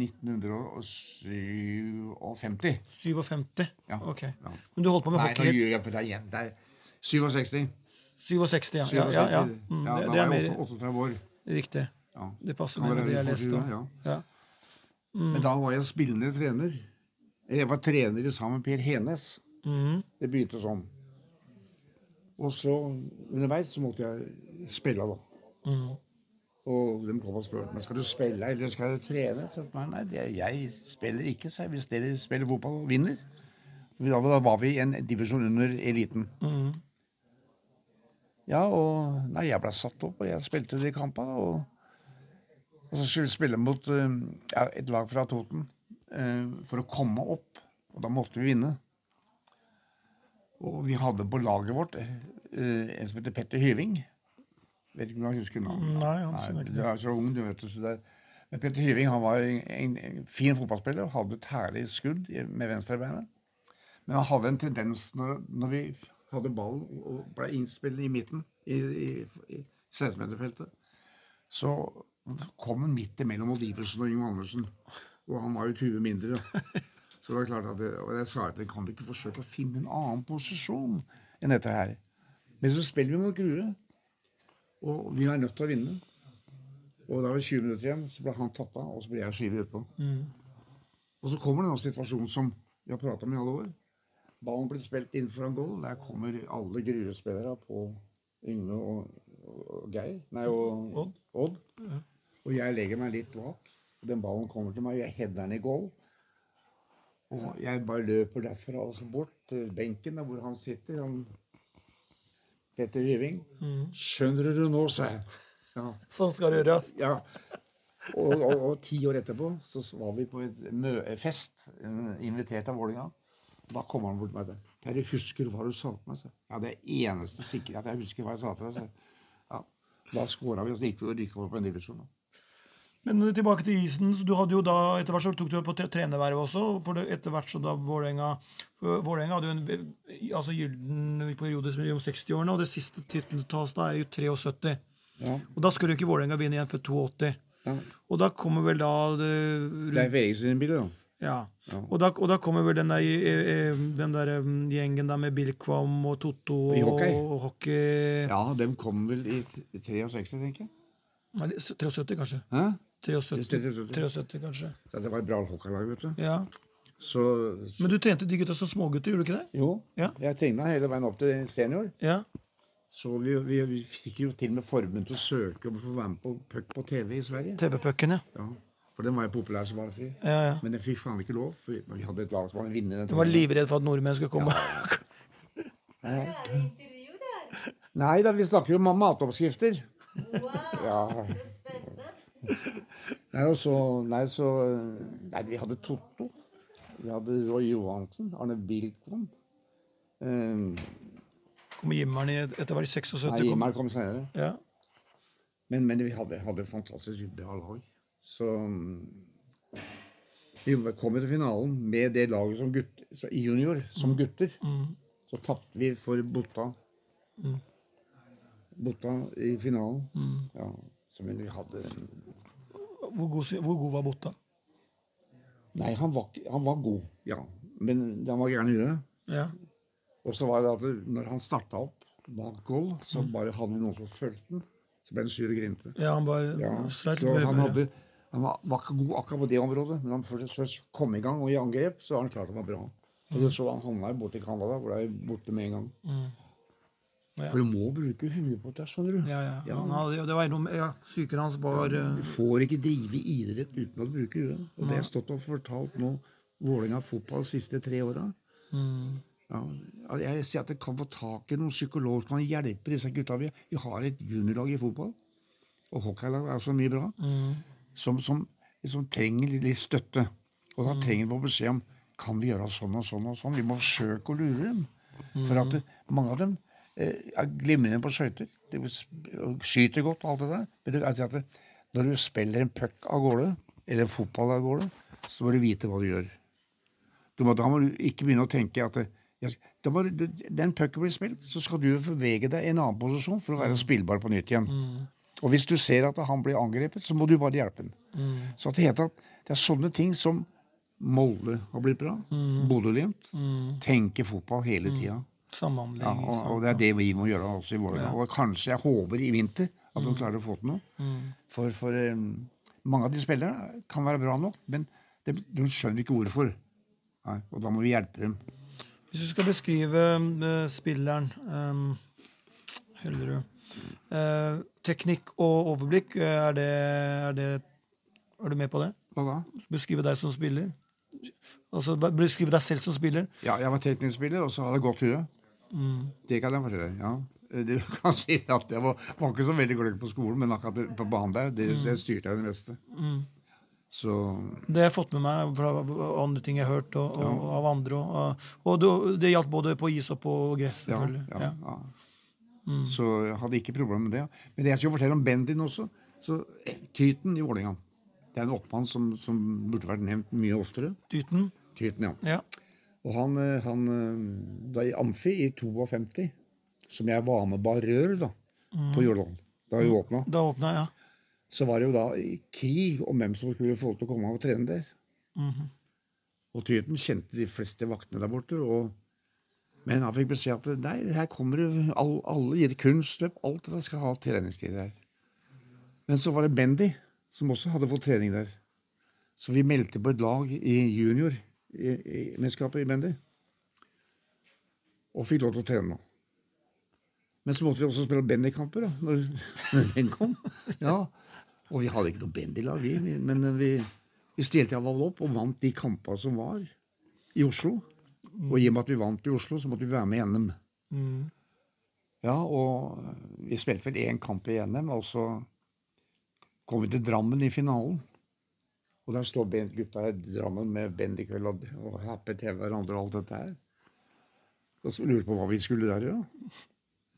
Speaker 2: 1957.
Speaker 1: 57?
Speaker 2: Ja.
Speaker 1: Ok.
Speaker 2: Ja.
Speaker 1: Men du holdt på med
Speaker 2: Nei, nå
Speaker 1: hockey?
Speaker 2: gjør jeg på deg igjen. Det er 67.
Speaker 1: 67, ja.
Speaker 2: 67.
Speaker 1: ja, ja, ja. Mm,
Speaker 2: Ja,
Speaker 1: det,
Speaker 2: da
Speaker 1: det er
Speaker 2: var
Speaker 1: mer
Speaker 2: jeg åtte- 38 år.
Speaker 1: riktig.
Speaker 2: Ja.
Speaker 1: Det passer
Speaker 2: Da
Speaker 1: mer
Speaker 2: var
Speaker 1: med det
Speaker 2: jeg
Speaker 1: jeg leste.
Speaker 2: 24,
Speaker 1: da.
Speaker 2: ja.
Speaker 1: Ja. Mm.
Speaker 2: Men da var jeg spillende trener. Eh, Jeg var trener sammen med Per Henes.
Speaker 1: Mhm.
Speaker 2: Det begynte sånn. Og så underveis så måtte jeg spille, da.
Speaker 1: Mhm.
Speaker 2: Og de kom og spurte meg skal du spille eller skal du trene. Så jeg sa nei, det, jeg spiller ikke, sa jeg. Hvis dere spiller fotball og vinner. Da, da var vi i en divisjon under eliten.
Speaker 1: Mhm.
Speaker 2: Ja, og nei, jeg ble satt opp, og jeg spilte de kampene. Og, og så skulle vi spille mot eh, ja, et lag fra Toten eh, for å komme opp. Og da måtte vi vinne. Og vi hadde på laget vårt eh, en som heter Petter Hyving. Vet ikke om jeg husker navnet.
Speaker 1: Nei, han sier ikke
Speaker 2: du er så ung, du vet. Så det. er- Men Petter Hyving han var en, en, en fin fotballspiller og hadde et herlig skudd i- med venstrebeinet. Men han hadde en tendens når, når vi hadde ballen og ble innspillet i midten i, i, i 16-meterfeltet, så kom han midt imellom Odd Iversen og Yngve Andersen. Og han var jo 20 mindre. da. Så Så det var klart at det, og jeg sa at vi kan ikke forsøke å finne en annen posisjon enn dette her. Men så spiller vi mot Grue, og vi er nødt til å vinne. Og da var det 20 minutter igjen, så ble han tatt av, og så ble jeg skyvet utpå.
Speaker 1: mm.
Speaker 2: Og så kommer denne situasjonen som vi har prata om i alle år. Ballen blir spilt innenfor en goal. Der kommer alle Grue-spillere på Yngve og, og Geir. Nei, og
Speaker 1: Odd.
Speaker 2: Odd. Og jeg legger meg litt bak. Den ballen kommer til meg, jeg header den i goal. Og jeg bare løper derfra og så bort til benken der hvor han sitter, han Petter Hyving. Skjønner du nå, sa jeg. Ja.
Speaker 1: Sånn skal det gjøres.
Speaker 2: Ja. Og, og, og ti år etterpå så var vi på et mø fest eh, invitert av Vålinga. Da kom han bort til meg og sa Terje, husker du hva du sa til meg? sa jeg. Ja, det er eneste sikre at jeg husker hva jeg sa til deg. sa jeg. Ja. Da skåra vi, og så gikk vi og rykka opp en divisjon. da.
Speaker 1: Men eh, tilbake til isen. så Du hadde jo da, etter hvert så tok du jo på tre- trenerverv også. For det, etter hvert så da Vålerenga for Vålerenga hadde jo en eh, altså gylden periode som er om 60-årene, og det siste tittelen til oss da er jo 73.
Speaker 2: Ja.
Speaker 1: Og da skulle jo ikke Vålerenga vinne igjen før 82.
Speaker 2: Ja.
Speaker 1: Og da kommer vel da det,
Speaker 2: Leif Eriksen sin bil, da.
Speaker 1: Ja.
Speaker 2: Ja.
Speaker 1: Og, da, og da kommer vel den der, eh, eh, den der eh, gjengen der med Bilkvam og Totto
Speaker 2: I
Speaker 1: og
Speaker 2: hockey.
Speaker 1: og hockey
Speaker 2: Ja, dem kom vel i t- 63, tenker jeg.
Speaker 1: Nei, 73, kanskje.
Speaker 2: Hæ?
Speaker 1: 73,
Speaker 2: 73.
Speaker 1: 73, kanskje.
Speaker 2: Så det var et bra hockeylag, vet du.
Speaker 1: Ja.
Speaker 2: Så, så
Speaker 1: Men du trente de gutta som smågutter, gjorde du ikke det?
Speaker 2: Jo,
Speaker 1: Ja.
Speaker 2: jeg tegna hele veien opp til senior.
Speaker 1: Ja.
Speaker 2: Så vi, vi, vi fikk jo til og med forbund til å søke om å få være med på puck på TV i Sverige.
Speaker 1: TV-pucken, ja.
Speaker 2: Ja, for den var jo populær som bare fri.
Speaker 1: Ja, ja.
Speaker 2: Men den fikk faen ikke lov, for vi- vi hadde et lag som var en vinner. i Den
Speaker 1: Du var
Speaker 2: turneringen.
Speaker 1: livredd for at nordmenn skulle komme.
Speaker 3: Era intervju der.
Speaker 2: Nei da, vi snakker jo om matoppskrifter.
Speaker 3: Wow,
Speaker 2: Ja.
Speaker 3: så spennende.
Speaker 2: Nei, og så, nei, så Nei, vi hadde Totto. Vi hadde Roy Johansen. Arne Bilkvam. Um,
Speaker 1: Kom Jimmeren i etter hvert i 76.
Speaker 2: nei,
Speaker 1: kom.
Speaker 2: Imar kom senere.
Speaker 1: Ja.
Speaker 2: Men, men vi hadde, hadde et fantastisk bra lag. Så mm, vi kom jo til finalen med det laget som gutter, så, i junior, som gutter. Så tapte vi for Botta. Botta i finalen. Ja, så men vi hadde
Speaker 1: Hvor, god, sy- hvor god var Botta?
Speaker 2: Nei, han var, ikke- han var god, ja. Men han var gæren i huet.
Speaker 1: Ja.
Speaker 2: Og så var det at det- når han starta opp bak goal, så bare hadde vi noen som fulgte den. Så ble han sur og grinte.
Speaker 1: ja, han bare
Speaker 2: Ja, så
Speaker 1: sleit litt med
Speaker 2: han,
Speaker 1: humøret.
Speaker 2: hadde, han var, var ikke god akkurat på det området, men han først, først kom i gang og i angrep, så var han klart han var bra. Og så han havna jo borte i Canada, hvor det er borte med en gang.
Speaker 1: Mm. Ja.
Speaker 2: For du må bruke huet på det, skjønner du.
Speaker 1: Ja, ja. Han hadde, jo- det var noe med, ja, Psyken hans var eh,
Speaker 2: Du får ikke drive idrett uten å bruke huet. Og det har jeg stått og fortalt nå Vålerenga fotball de siste tre åra.
Speaker 1: mm,
Speaker 2: Ja, altså, jeg sier at jeg kan få tak i noen psykolog som kan hjelpe disse gutta. Vi, vi har et juniorlag i fotball, og hockeylag er så mye bra, som, som, som trenger litt, litt støtte. Og da trenger vi å beskjed om kan vi gjøre sånn og sånn og sånn. Vi må forsøke å lure dem. For at det, mange av dem eh, er glimrende på skøyter. De s- og skyter godt og alt det der. Men det, altså at det, når du spiller en puck av gårde, eller en fotball av gårde, så må du vite hva du gjør. Du må, da må du ikke begynne å tenke at eh, jeg skal- da må, du- Den pucken blir spilt, så skal du bevege deg i en annen posisjon for å være spillbar på nytt igjen. Og hvis du ser at han blir angrepet, så må du bare hjelpe ham.
Speaker 1: mm,
Speaker 2: Så at det, heter at det er sånne ting som Molde har blitt bra. Bodø-Glimt. Tenke fotball hele tida.
Speaker 1: mm. samhandling. liksom.
Speaker 2: Ja,
Speaker 1: ikke
Speaker 2: og,
Speaker 1: sant?
Speaker 2: og Mm. det er det vi må gjøre også i Vålerenga. Og kanskje jeg håper i vinter at de klarer å få til noe.
Speaker 1: Mm.
Speaker 2: For, for eh, mange av de spillerne kan være bra nok, men de, de skjønner ikke hvorfor. Nei, og da må vi hjelpe dem.
Speaker 1: Hvis du skal beskrive eh, spilleren um, Hellerud eh, Teknikk og overblikk, eh, er det, er det Er du med på det?
Speaker 2: Hva da?
Speaker 1: Beskrive deg som spiller? Altså hva- beskrive deg selv som spiller?
Speaker 2: Ja, jeg var teknisk-spiller, og så hadde jeg godt hue. Det kan jeg fortelle. ja. Eh, Du kan si at jeg var, var ikke så veldig gløgg på skolen, men akkurat det- på banen der, det, det styrte jeg det meste. Så
Speaker 1: Det har jeg fått med meg fra andre ting jeg har hørt og, og, og av andre. Og, og du- det gjaldt både på is og på gress,
Speaker 2: Ja,
Speaker 1: selvfølgelig.
Speaker 2: ja, Mm. ja. Så jeg hadde ikke problemer med det. Men det jeg skulle fortelle om Bendin også så eh, Tyten i Vålerenga. Det er en oppmann som, som burde vært nevnt mye oftere.
Speaker 1: Dyten.
Speaker 2: Tyten, ja.
Speaker 1: Ja.
Speaker 2: Og han, eh, han eh, var i Amfi i 52, som jeg var med bar rør da, på Jordal. Da vi åpna.
Speaker 1: Da åpna jeg, ja.
Speaker 2: Så var det jo da i krig om hvem som skulle få lov til å komme og trene der. Og Tyten kjente de fleste vaktene der borte. Og, men han fikk beskjed at nei, her kommer det all, alle gir kunstløp. Alt dette skal ha treningstider her. Men så var det Bendy, som også hadde fått trening der. Så vi meldte på et lag i junior i, i mesterskapet i Bendy. Og fikk lov til å trene. Men så måtte vi også spille Bendy-kamper da når, når den kom. Ja, og vi hadde ikke noe Bendy-lag, vi. vi- Men eh, vi, vi stilte iallfall opp og vant de kampene som var i Oslo. Og i og med at vi vant i Oslo, så måtte vi være med i NM.
Speaker 1: Mm.
Speaker 2: Ja, og eh, vi spilte vel én kamp i NM, og så kom vi til Drammen i finalen. Og der står Ben- gutta i Drammen med Bendy-kveld og, og happer til hverandre og alt dette her. Og så lurer jeg på hva vi skulle der gjøre.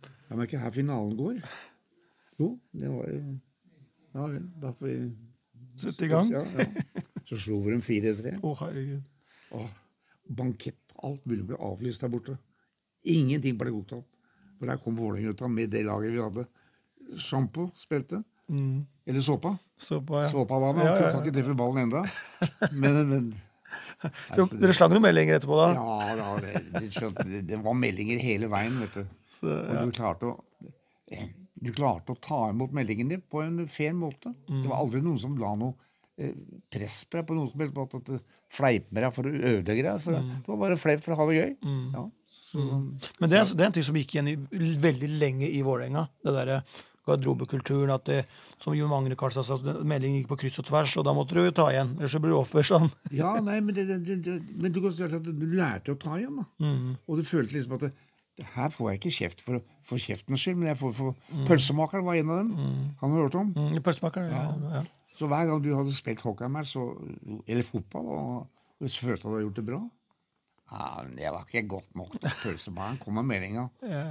Speaker 2: Ja, men er ikke her finalen går? Jo, det var jo Ja vel, da får vi
Speaker 1: Sett i gang. Å,
Speaker 2: Ja, ja. Så slo vi dem 4-3.
Speaker 1: herregud.
Speaker 2: Åh, Bankett alt mulig ble avlyst der borte. Ingenting ble godtatt. For der kom Vålerenga-gutta med det laget vi hadde. Sjampo spilte.
Speaker 1: Mm.
Speaker 2: Eller såpa.
Speaker 1: Så på, ja.
Speaker 2: Såpa var med.
Speaker 1: Ja,
Speaker 2: Han
Speaker 1: ja,
Speaker 2: kan
Speaker 1: ja.
Speaker 2: ikke treffe ballen enda. Men, men altså,
Speaker 1: Så Dere slang noen meldinger etterpå, da?
Speaker 2: ja, ja det, det, skjønte, det, det var meldinger hele veien, vet du.
Speaker 1: Så, ja.
Speaker 2: Og du klarte å du klarte å ta imot meldingene på en fair måte. Det var aldri noen som la noe eh, press på deg på noen som helst måte. At det fleip med deg for å ødelegge deg. For Det var bare fleip for å ha det gøy. Ja, så,
Speaker 1: Men det er, det er en ting som gikk igjen i, veldig lenge i Vålerenga. Det derre garderobekulturen. at det, Som Jon Magne Karlstad sa, at melding gikk på kryss og tvers, og da måtte du jo ta igjen. Ellers så blir du offer sånn.
Speaker 2: ja nei, men, det, det, det, det- men du, kan si at du lærte å ta igjen, da. Og du følte liksom at det, det her får jeg ikke kjeft for, for kjeftens skyld, men jeg får for Pølsemakeren var en av dem. Han har du hørt om.
Speaker 1: Mm, Pølsemakeren. Ja. Ja.
Speaker 2: Så hver gang du hadde spilt hockeymatch så- eller fotball og, og så følte du at du hadde gjort det bra ja, men Det var ikke godt nok. Pølsebaren kom med meldinga.
Speaker 1: Ja.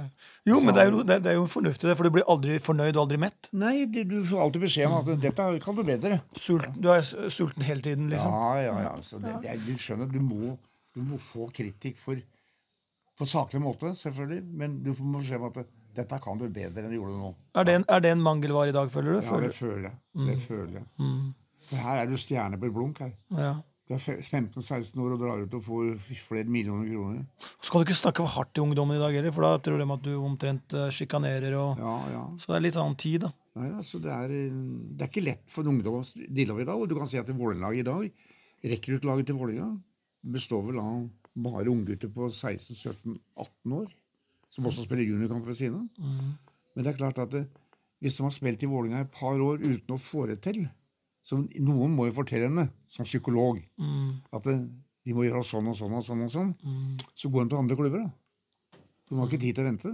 Speaker 1: Jo, men det er jo, det, er- det er jo fornuftig, det, for du blir aldri fornøyd og aldri mett.
Speaker 2: Nei, det, du får alltid beskjed om at 'dette kan du bedre'.
Speaker 1: Sult, du er s- sulten hele tiden, liksom.
Speaker 2: Ja, ja, ja. Så det, det er, du skjønner, du må, du må få kritikk for på saklig måte, selvfølgelig, men du får beskjed om at 'dette kan du bedre enn du gjorde nå'.
Speaker 1: Er, det en, er det en mangelvare i dag, føler du?
Speaker 2: Ja,
Speaker 1: Føler-
Speaker 2: det føler Mm. jeg. Det føler jeg. For her er du stjerne på et blunk. her.
Speaker 1: ja.
Speaker 2: Du er fe- 15-16 år og drar ut og får flere millioner kroner.
Speaker 1: Så skal du ikke snakke for hardt til ungdommen i dag heller, for da tror de at du omtrent eh, sjikanerer. Og...
Speaker 2: Ja, ja.
Speaker 1: Så det er litt annen tid, da.
Speaker 2: Nei, altså det, er, eh, det er ikke lett for en ungdom å deale med i dag. Og du kan si at Vålerenga-laget i dag Rekruttlaget til Vålerenga består vel av bare unggutter på 16-17-18 år, som også spiller juniorkamp ved siden av. Men det er klart at det, hvis de har spilt i Vålerenga et par år uten å få det til så Noen må jo fortelle henne, som psykolog,
Speaker 1: Mm.
Speaker 2: at eh, de må gjøre sånn og sånn og sånn. og sånn. Så går de til andre klubber, da. De har ikke tid til å vente.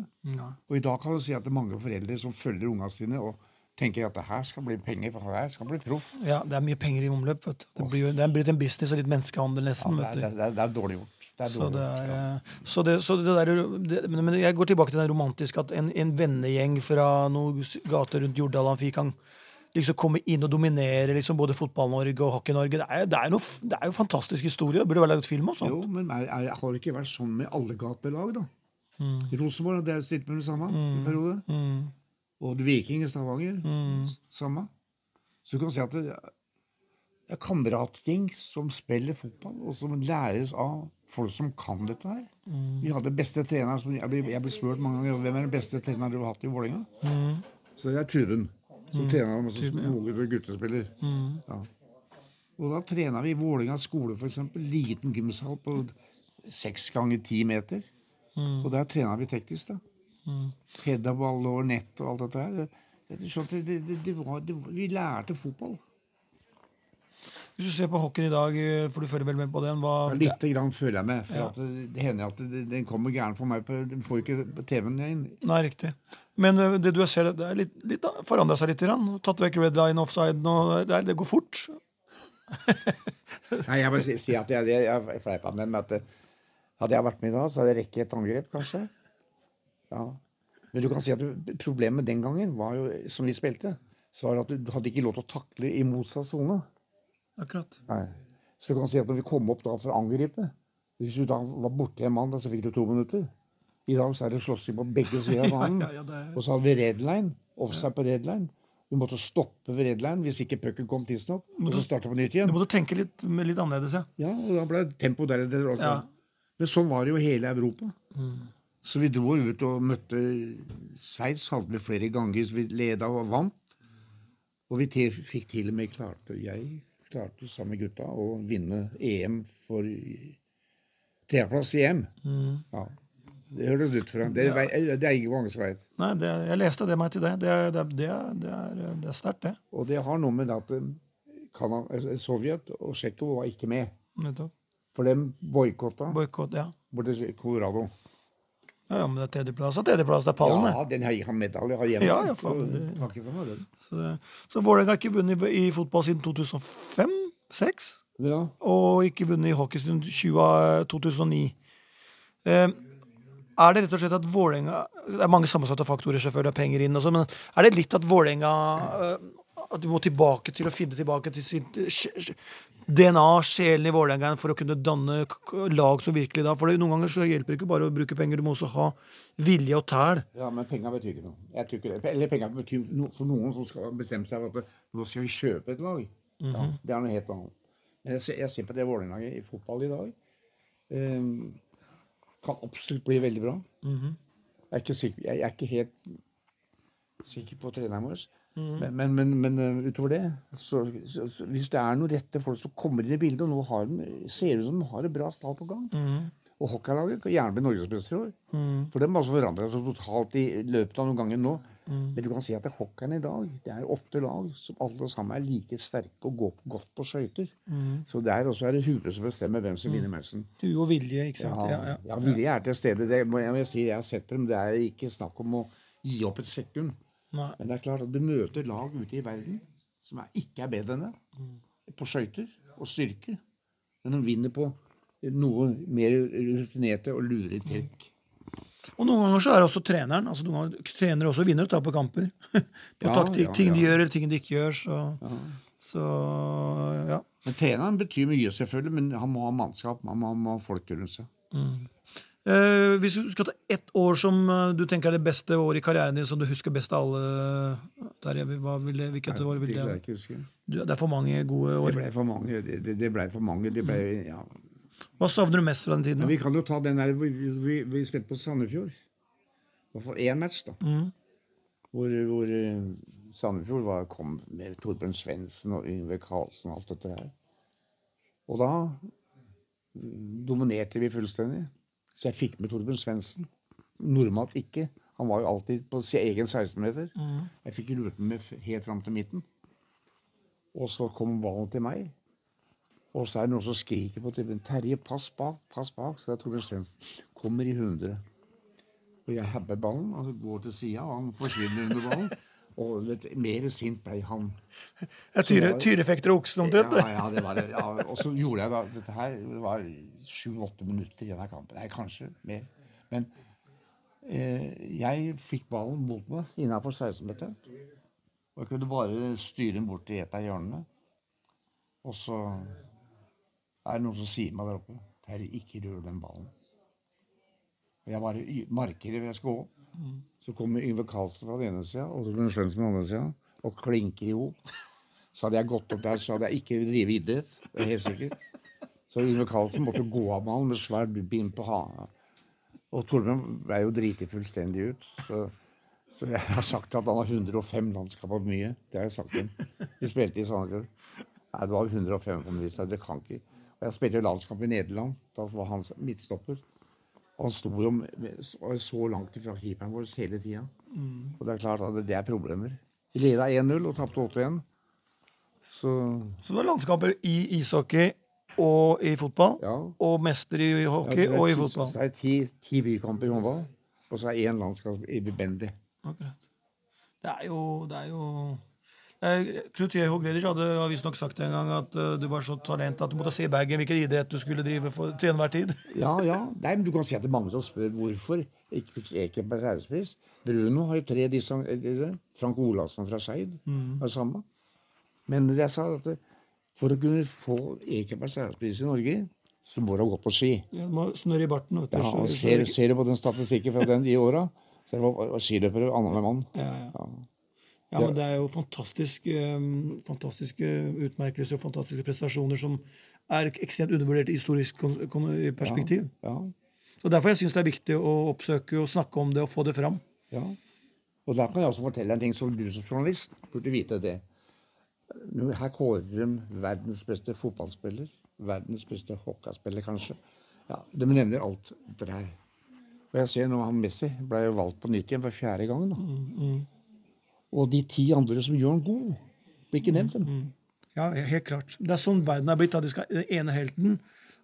Speaker 2: Og i dag kan du si at det er mange foreldre som følger unga sine og tenker at det her skal bli penger, for det her skal bli proff.
Speaker 1: Ja, Det er mye penger i omløp. vet du. Det, blir jo, det er blitt en business og litt menneskehandel,
Speaker 2: Ja,
Speaker 1: nesten.
Speaker 2: det, er,
Speaker 1: vet du.
Speaker 2: det, er, det er dårlig gjort. Det er
Speaker 1: Så
Speaker 2: dårlig
Speaker 1: det er,
Speaker 2: gjort, ja.
Speaker 1: eh, så det, så det der, det, men men jeg går tilbake til den romantiske at en, en vennegjeng fra noen s- gater rundt Jordal Amfi kan liksom komme inn og dominere liksom både Fotball-Norge og Hockey-Norge. Det, er- det, er noe f- det er jo fantastisk historie. Det burde vært laget film om sånt.
Speaker 2: Jo, men er, er, har det ikke vært sånn med alle gatelag, da?
Speaker 1: Mm.
Speaker 2: Rosenborg hadde stilt med det samme i en periode. Og Viking i Stavanger. s- Samme. Så du kan si at det det er kameratgjeng som spiller fotball, og som læres av folk som kan dette her. Vi hadde beste treneren som Jeg blir, jeg blir spurt mange ganger hvem er den beste treneren du har hatt i Vålerenga. Så det er Tuven som trener dem, og så unge guttespiller. Ja. Og da trener vi i Vålinga skole, for eksempel. Liten gymsal på seks ganger ti meter. Og der trener vi teknisk, da. Headaball og nett og alt dette her. Det, det, skjønte- det, det, det var, det, vi lærte fotball.
Speaker 1: Hvis du ser på hockeyen i dag, eh, for du følger vel med på den, hva
Speaker 2: Litt grann føler jeg med. For at det, det hender at det- den kommer gæren for meg. På, den får ikke TV-en inn.
Speaker 1: Nei, riktig. Men ø, det du ser, det er litt, litt forandra seg litt. Grann. Tatt vekk red line offside og det, er- det går fort.
Speaker 2: Nei, jeg må si, si at jeg, jeg, jeg fleipa med men at det- Hadde jeg vært med i dag, så hadde jeg rekket et angrep, kanskje. Ja. Men du kan si at du, problemet den gangen, var jo, som vi spilte, så var det at du, du hadde ikke lov til å takle i motsatt sone.
Speaker 1: Akkurat.
Speaker 2: Så du kan si at når vi kom opp da for å angripe Hvis du da var borti en mann, da, så fikk du to minutter. I dag så er det slåssing på begge sider av banen.
Speaker 1: Ja, ja, ja, det er-
Speaker 2: Og så hadde vi red line. Offside på red line. Du måtte stoppe ved redline hvis ikke pucken kom tidsnok. Og så starte på nytt
Speaker 1: Du
Speaker 2: igjen.
Speaker 1: måtte tenke litt, litt annerledes, ja.
Speaker 2: Ja, og da ble tempoet deretter. alt
Speaker 1: Ja.
Speaker 2: annet. Men sånn var det jo i hele Europa. Så vi dro ut og møtte Sveits hadde vi flere ganger. så Vi leda og vant. Og vi til, fikk til og med klarte Jeg klarte sammen med gutta å vinne EM for tredjeplass i EM. Ja. Det høres ut fra. Det, er- det er ikke mange som vet.
Speaker 1: Nei, det, jeg leste det meg til det. Det er, det er, det er, det er, det er sterkt, det.
Speaker 2: Og det har noe med at eh, Kana- eh, Sovjet og Tsjekkia var ikke med.
Speaker 1: Nettopp.
Speaker 2: For dem boikotta
Speaker 1: Boikott, ja.
Speaker 2: borte i Colorado.
Speaker 1: ja. Ja, men det er tredjeplass og tredjeplass. Det er pallen, det.
Speaker 2: Ja, den har jeg har medalje har hjemme. Mm.
Speaker 1: Ja, ja, faen, det-
Speaker 2: Takk for meg, den.
Speaker 1: Så, det- så Vålerenga har ikke vunnet i i fotball siden 2005-2006.
Speaker 2: Ja.
Speaker 1: Og ikke vunnet i hockey siden 20, av 2009. Eh, er det rett og slett at Vålerenga Det er mange sammensatte faktorer, selvfølgelig, det er penger inn og sånn, men er det litt at Vålerenga eh, At de må tilbake til å finne tilbake til sitt eh, sj- sj- DNA, sjelen i Vålerenga, for å kunne danne k- k- lag som virkelig da For det, noen ganger så hjelper det ikke bare å bruke penger, du må også ha vilje og tæl.
Speaker 2: ja, men penga betyr ikke noe. Jeg tror ikke det. Eller penga betyr noe for noen som skal bestemme seg for at nå skal vi kjøpe et lag. ja,
Speaker 1: Mhm.
Speaker 2: det er noe helt annet. Men jeg ser, jeg ser på det Vålerenga i fotball i dag. Ehm, kan absolutt bli veldig bra.
Speaker 1: Mhm.
Speaker 2: jeg, er ikke sikker, jeg er ikke helt sikker på treneren vår.
Speaker 1: Mhm.
Speaker 2: Men, men, men, men eh, utover det så, så, så Hvis det er noen rette folk som kommer inn i bildet, og nå har de, ser det ut som de har et bra stall på gang,
Speaker 1: Mm,
Speaker 2: Og hockeylaget kan gjerne bli norgesmester i år. For dem har altså forandra seg totalt i løpet av noen ganger nå.
Speaker 1: Mm.
Speaker 2: Men du kan si at det er hockeyen i dag. Det er åtte lag som alle sammen er like sterke og går godt på skøyter.
Speaker 1: Mm.
Speaker 2: Så der også er det huet som bestemmer hvem som vinner matchen.
Speaker 1: Hue og vilje, ikke sant. Mm. Ja, ja.
Speaker 2: ja, Vilje er til stede. Det må jeg må si. Jeg har sett dem. Det er ikke snakk om å gi opp et sekund.
Speaker 1: Nei.
Speaker 2: Men det er klart at du møter lag ute i verden som er, ikke er bedre enn deg på skøyter og styrke. Men de vinner på noe mer rutinerte og lure trekk.
Speaker 1: Og noen ganger så er det også treneren. altså Noen ganger trener også vinner og taper kamper. På
Speaker 2: Ja,
Speaker 1: taktikk.
Speaker 2: ja,
Speaker 1: ting de
Speaker 2: ja.
Speaker 1: gjør, eller ting de ikke gjør. Så ja. Så, ja.
Speaker 2: Men Treneren betyr mye, selvfølgelig, men han må ha mannskap. Han må må ha folk rundt seg.
Speaker 1: Eh, hvis du skal ta ett år som eh, du tenker er det beste året i karrieren din, som du husker best av alle der, jeg- hva vil det, Hvilket år vil det
Speaker 2: klarer
Speaker 1: være?
Speaker 2: jeg ikke å huske.
Speaker 1: Du- Det er for mange gode
Speaker 2: Det
Speaker 1: år.
Speaker 2: ble for mange. Det, det, det ble for mange. Det ble, ja.
Speaker 1: Hva savner du mest fra den tiden?
Speaker 2: Men
Speaker 1: da?
Speaker 2: vi kan jo ta den der vi, vi, vi spilte på Sandefjord. Det var for én match, da. Hvor, hvor eh, Sandefjord var, kom med Torbjørn Svendsen og Yngve Karlsen og alt dette her. Og da mm, dominerte vi fullstendig. Så jeg fikk med Torbjørn Svendsen. Normalt ikke. Han var jo alltid på sin egen 16-meter. Jeg fikk lurt med f- helt fram til midten. Og så kom ballen til meg. Og så er det noen som skriker på tribunen. 'Terje, pass bak, pass bak.' Så det er Torbjørn Svendsen. Kommer i 100. Og jeg habber ballen, og går til sida, og han forsvinner under ballen. Og vet, du, mer sint ble han.
Speaker 1: Ja, tyre, tyrefekter og oksen omtrent?
Speaker 2: Ja, ja, det var det. Ja, og så gjorde jeg da Dette her det var sju-åtte minutter igjen av kampen. Nei, kanskje mer. Men eh, jeg fikk ballen mot meg innafor 16-meteren. Og jeg kunne bare styre den bort til et av hjørnene. Og så er det noen som sier meg der oppe Terje, ikke rør den ballen. Og jeg bare y- markerer hvor jeg skal gå. Så kommer Yngve Karlsen fra den ene sida og Torbjørn Svendsen fra den andre sida og klinker i hop. Så hadde jeg gått opp der, så hadde jeg ikke drevet idrett. Det er helt sikkert. Så Yngve Carlsen måtte gå av med han med svær bind på hana. Og Torbjørn ble jo driti fullstendig ut. Så, så jeg har sagt at han har 105 landskamp for mye. Det har jeg sagt til ham. Vi spilte i Sandefjord. Nei, det var 105 kommuner. Det kan ikke. Og jeg spilte jo landskamp i Nederland. Da var han midtstopper. Og han sto jo med- og så langt ifra keeperen vår hele tida. Og det er klart at det er problemer. Vi leda 1-0 og tapte 8-1. Så
Speaker 1: Så du har landskamper i ishockey og i fotball.
Speaker 2: Ja.
Speaker 1: Og mester i hockey
Speaker 2: Ja, det er
Speaker 1: og i
Speaker 2: ti-
Speaker 1: fotball.
Speaker 2: Så er det ti, ti bykamper i håndball, og så er én landskamp i bandy.
Speaker 1: Akkurat. Det er jo Det er jo det er, Knut Jeho Gleders hadde har visstnok sagt en gang at eh, du var så talent at du måtte se i bagen hvilken idrett du skulle drive for, til enhver tid.
Speaker 2: Ja, ja. Nei, men du kan si at det er mange som spør hvorfor ikke fikk Ekeberg ærespris. Bruno har jo tre disse. Frank Olavsson fra Skeid
Speaker 1: Mm.
Speaker 2: har det samme. Men jeg sa at det- for å kunne få Ekebergs ærespris i Norge, så må du ha gått på ski.
Speaker 1: Du må snurre i barten. Vet du,
Speaker 2: Ja,
Speaker 1: så-
Speaker 2: og
Speaker 1: så-
Speaker 2: ser, ser du på den statistikken fra den i åra, så er det var skiløpere annenhver mann.
Speaker 1: Ja, ja. Ja, men det er jo fantastisk, eh, fantastiske utmerkelser og fantastiske prestasjoner som er ekstremt undervurdert i historisk kon- kon- perspektiv.
Speaker 2: Ja,
Speaker 1: Og Derfor jeg syns det er viktig å oppsøke og snakke om det og få det fram.
Speaker 2: ja. Og der kan jeg også fortelle en ting som du som journalist burde vite det. Nå- Her kårer de verdens beste fotballspiller. Verdens beste hockeyspiller, kanskje. Ja, De nevner alt dette her. Og jeg ser nå han Messi ble jo valgt på nytt igjen for fjerde gang. da. Og de ti andre som gjør han god, blir ikke nevnt. dem.
Speaker 1: Ja, helt klart. Det er sånn verden er blitt. da. De skal den ene helten,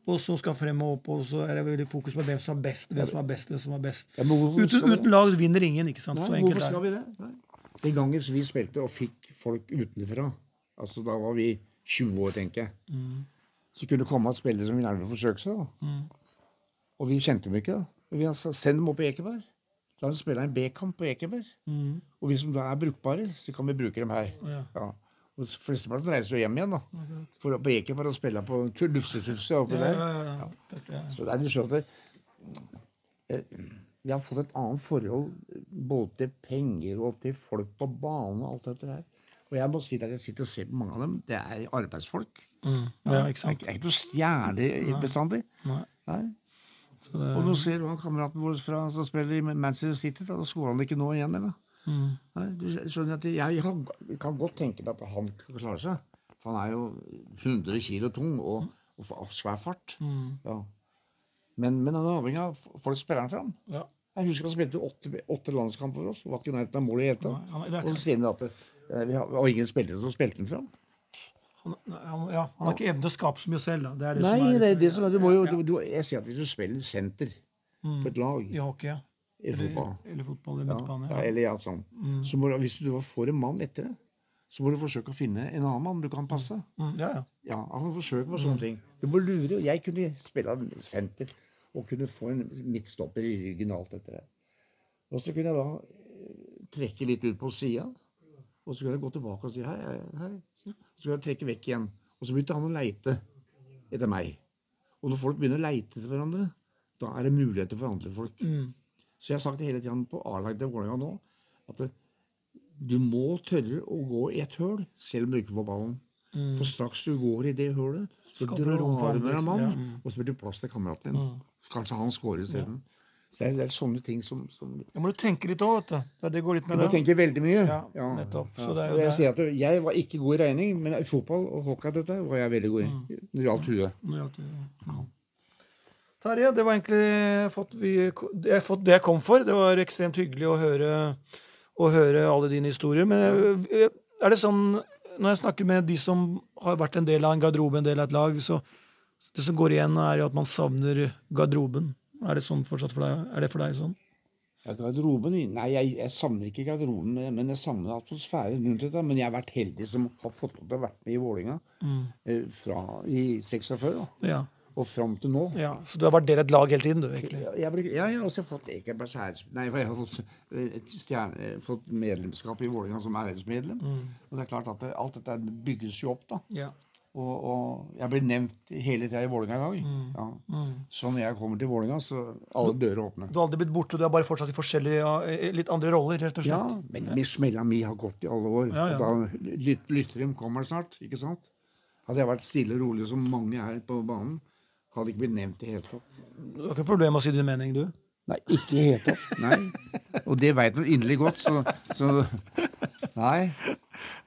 Speaker 1: og så skal frem og opp, og så er det veldig fokus på hvem som er best. hvem som er best, hvem som er best.
Speaker 2: Ja, men hvorfor
Speaker 1: Uten,
Speaker 2: skal vi-
Speaker 1: uten lag vinner ingen, ikke sant?
Speaker 2: Nei,
Speaker 1: så
Speaker 2: hvorfor
Speaker 1: enkelt er
Speaker 2: skal
Speaker 1: det.
Speaker 2: vi det? Nei. Den gangen vi spilte og fikk folk utenfra, altså da var vi 20 år, tenker jeg, Mm. så kunne det komme et spiller som ville gjerne forsøke seg. da. Og vi kjente dem ikke. da. Men Vi altså, Send dem opp på Ekeberg. La dem spille en B-kamp på Ekeberg. Og vi som da er brukbare, så kan vi bruke dem her.
Speaker 1: Ja.
Speaker 2: Og s- Flesteparten reiser jo hjem igjen da, for å på Ekeberg og spille på tu- Lufsetufse oppi
Speaker 1: Ja,
Speaker 2: der.
Speaker 1: ja, ja, ja. Ja.
Speaker 2: Så det er litt skjønt at eh, vi har fått et annet forhold både til penger og til folk på banen og alt dette der. Og jeg må si at jeg sitter og ser på mange av dem. Det er arbeidsfolk.
Speaker 1: Mm. ja, ikke sant?
Speaker 2: Det er ikke noe stjerne i- bestandig.
Speaker 1: Nei.
Speaker 2: Nei.
Speaker 1: Så det,
Speaker 2: Og nå ser du han kameraten vår fra, som spiller i Manchester City. Da, da skårer han ikke nå igjen, eller?
Speaker 1: mm.
Speaker 2: Nei, du skjønner at jeg har, kan godt tenke meg at han klarer seg. For han er jo 100 kilo tung og, og f- og svær fart.
Speaker 1: mm.
Speaker 2: Ja. Men, men han er avhengig av f- folk spiller han fram.
Speaker 1: ja.
Speaker 2: Jeg husker han spilte åtte, åtte landskamper for oss. Var ikke i nærheten av målet i det hele tatt.
Speaker 1: Nei, han- det er
Speaker 2: Og så sier han at eh, vi har og ingen spillere som spilte den fram.
Speaker 1: Han, nei, han, ja, han har ikke evne til å skape så mye selv. Da. Det er det
Speaker 2: Nei,
Speaker 1: som er
Speaker 2: det er det som er du må jo, du, du, Jeg sier at hvis du spiller senter på et lag
Speaker 1: i hockey. Mm. ja.
Speaker 2: i fotball
Speaker 1: Eller, eller fotball i
Speaker 2: Ja,
Speaker 1: midtbane.
Speaker 2: ja,
Speaker 1: Ja. Mm,
Speaker 2: eller ja, sånn. Så må du, hvis du da får en mann etter det, så må du forsøke å finne en annen mann du kan passe.
Speaker 1: Mm, ja, ja.
Speaker 2: Ja, han må forsøke på sånne ting. Mm. Du må lure. og Jeg kunne spille av senter og kunne få en midtstopper i ryggen og alt dette der. Og så kunne jeg da eh, trekke litt ut på sida, og så kunne jeg gå tilbake og si hei, hei, hei. Så kunne jeg trekke vekk igjen. Og så begynte han å leite etter meg. Og når folk begynner å leite etter hverandre, da er det muligheter for andre folk.
Speaker 1: Mm,
Speaker 2: Så jeg har sagt det hele tiden på A-laget til Vålerenga nå, at det, du må tørre å gå i et høl, selv om du ikke får ballen.
Speaker 1: mm.
Speaker 2: For straks du går i det hølet, så
Speaker 1: Skaper du
Speaker 2: drar
Speaker 1: rom for
Speaker 2: du
Speaker 1: andre,
Speaker 2: med deg
Speaker 1: liksom.
Speaker 2: mann,
Speaker 1: Ja, Mm.
Speaker 2: og så blir det plass til kameraten din. Så Kanskje han scorer isteden. Så det er, det er sånne ting som, som
Speaker 1: Da må du tenke litt òg, vet du. Det, det går litt
Speaker 2: Du
Speaker 1: med
Speaker 2: må
Speaker 1: det.
Speaker 2: tenke veldig mye.
Speaker 1: Ja, nettopp. Så det er jo
Speaker 2: Og jeg
Speaker 1: det.
Speaker 2: sier at jeg var ikke god i regning, men i fotball og hockey dette var jeg veldig god i.
Speaker 1: Mm.
Speaker 2: Når det gjaldt huet.
Speaker 1: Nå gjaldt det- Terje, Mm. det var egentlig fått, vi, jeg har fått det jeg kom for. Det var ekstremt hyggelig å høre, å høre alle dine historier. Men eh, er det sånn når jeg snakker med de som har vært en del av en garderobe, en del av et lag, så det som går igjen, er jo at man savner garderoben. Er det sånn fortsatt for deg? Er det for deg sånn?
Speaker 2: Ja, garderoben Nei, jeg, jeg savner ikke garderoben, men- men jeg savner atmosfæren rundt dette. Men jeg har vært heldig som har fått lov til å være med i Vålinga eh, fra i 46 da,
Speaker 1: Ja.
Speaker 2: og fram til nå.
Speaker 1: ja. Så du har vært del av et lag hele tiden, du, egentlig?
Speaker 2: Jeg, jeg, ble, ja, jeg har også fått Ekebergs æres... Nei, jeg har fått, et stjerne, eh, fått medlemskap i Vålinga som æresmedlem.
Speaker 1: Mm.
Speaker 2: Og det er klart at det, alt dette bygges jo opp, da.
Speaker 1: Ja.
Speaker 2: Og, og jeg blir nevnt hele tida i Vålinga i dag.
Speaker 1: Mm.
Speaker 2: Ja. Så når jeg kommer til Vålinga, så er alle dører åpne.
Speaker 1: Du har aldri blitt borte, du har bare fortsatt i forskjellige, ja, litt andre roller, rett og slett?
Speaker 2: Ja, men men smella mi har gått i alle år.
Speaker 1: Ja, ja.
Speaker 2: og Da lyt, Lytterem kommer snart, ikke sant? Hadde jeg vært stille og rolig som mange her på banen, hadde ikke blitt nevnt i det hele tatt.
Speaker 1: Du har ikke problem med å si din mening, du?
Speaker 2: Nei, ikke i det hele tatt. Nei. Og det veit du inderlig godt, så, så Nei.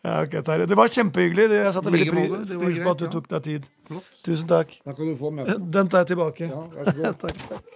Speaker 1: Ja, ok, Terje. Det var kjempehyggelig. Det- Jeg satte
Speaker 2: I
Speaker 1: veldig
Speaker 2: like
Speaker 1: pris,
Speaker 2: måte. Det var
Speaker 1: pris på
Speaker 2: greit,
Speaker 1: at du
Speaker 2: ja.
Speaker 1: tok deg tid.
Speaker 2: Flott.
Speaker 1: Tusen takk.
Speaker 2: Da kan du få møtet.
Speaker 1: Den tar jeg tilbake.
Speaker 2: Ja, vær så god.
Speaker 1: takk, takk.